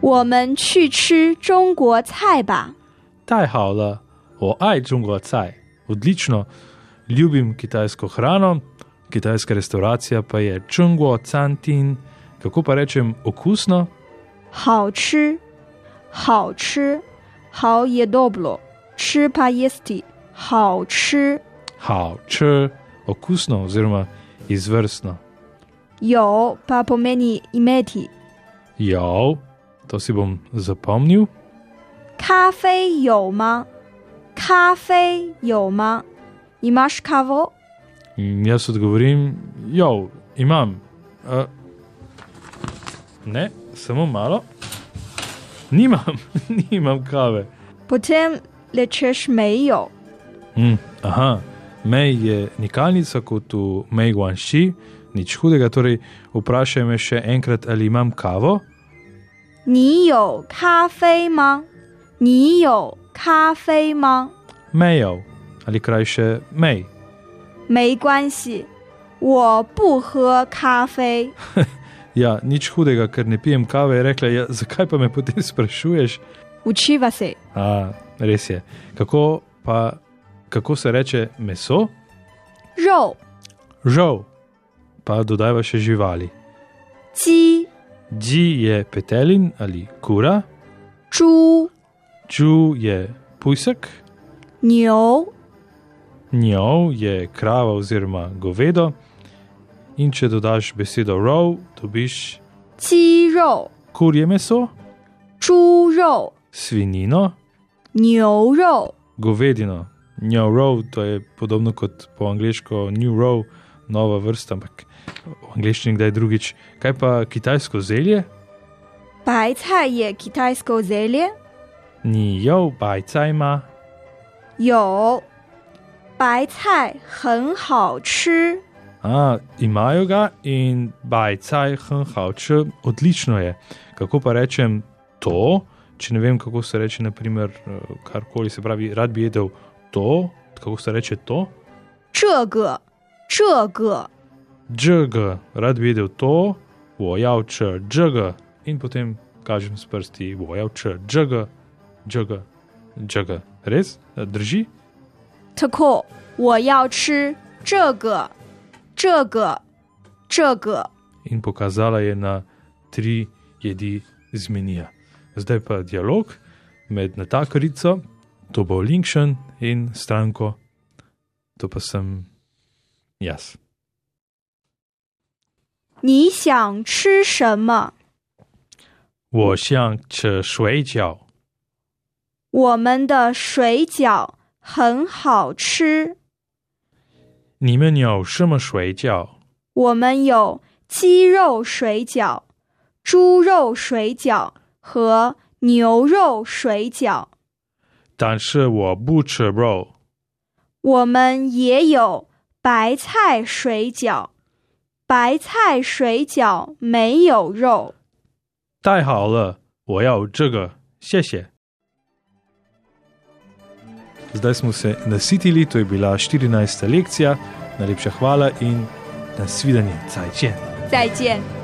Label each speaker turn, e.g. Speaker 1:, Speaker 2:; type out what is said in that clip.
Speaker 1: 我们去吃中国菜吧。
Speaker 2: Taj havla, o aj džungo caj. Odlično, ljubim kitajsko hrano, kitajska restauracija pa je džungo cantin, kako pa rečem, okusno.
Speaker 1: 好吃，好吃，好 je dobro，吃 pa jesti，好吃。
Speaker 2: Hao, č, okusno oziroma izvrstno.
Speaker 1: 有 pa pomeni imeti，
Speaker 2: Jav, to si bom zapomnil.
Speaker 1: 咖啡有吗？咖啡有吗？Imaš kavo？
Speaker 2: In jaz odgovorim, jo, imam. Uh, ne, samo malo. Nimam, nimam kave.
Speaker 1: Potem rečeš 没有。
Speaker 2: Mm, aha, mej je nikalnica kot v Mejguanši, nič hudega, torej vprašaj me še enkrat, ali imam kavo.
Speaker 1: 你有咖啡吗？你有咖啡吗？
Speaker 2: Mejev ali krajše mej.
Speaker 1: 没关系，我不喝咖啡。
Speaker 2: Ja, nič hudega, ker ne pijem kave, je rekla, ja, zakaj pa me potem sprašuješ?
Speaker 1: Učiva se
Speaker 2: A, res je. Kako pa, kako se reče meso?
Speaker 1: 肉、
Speaker 2: Žal, pa dodajva še živali.
Speaker 1: 鸡、
Speaker 2: Dži je petelin ali kura,
Speaker 1: 猪、
Speaker 2: ču je pusek,
Speaker 1: 牛、
Speaker 2: njov je krava oziroma govedo. In če dodaš besedo row, dobiš
Speaker 1: 鸡肉、
Speaker 2: kurje meso,
Speaker 1: 猪肉、
Speaker 2: svinino,
Speaker 1: 牛肉、
Speaker 2: govedino. New row, to je podobno kot po angliško new row, nova vrsta, ampak v angliščini kdaj drugič. Kaj pa kitajsko zelje?
Speaker 1: 白菜也 kitajsko zelje
Speaker 2: 你有白菜吗？
Speaker 1: 有，白菜很好吃。
Speaker 2: A, imajo ga in bajcaj, hnhavče, odlično je. Kako pa rečem to, če ne vem, kako se reče, naprimer, eh, karkoli se pravi, rad bi jedel to, kako se reče to,
Speaker 1: 这个，这个，
Speaker 2: džg, rad bi jedel to, vojavč, džg, in potem kažem s prsti, vojavč, džg, džg, džg. Res? Eh, Drži?
Speaker 1: 特扣，我要吃这个，这个，这个。
Speaker 2: in pokazala je na tri jedi z menija. Zdaj pa dialog med natakarico, to bo Linkšen in stranko, to pa sem jaz.
Speaker 1: 你想吃什么？
Speaker 2: 我想吃水饺，
Speaker 1: 我们的水饺很好吃，
Speaker 2: 你们有什么水饺？
Speaker 1: 我们有鸡肉水饺、猪肉水饺和牛肉水饺，
Speaker 2: 但是我不吃肉，
Speaker 1: 我们也有白菜水饺。白菜水饺没有肉。
Speaker 2: 太好了，我要这个，谢谢。Zdaj smo se nasitili, to je bila 14. lekcija. Najlepša hvala in nasvidenje, cajče.
Speaker 1: 再见。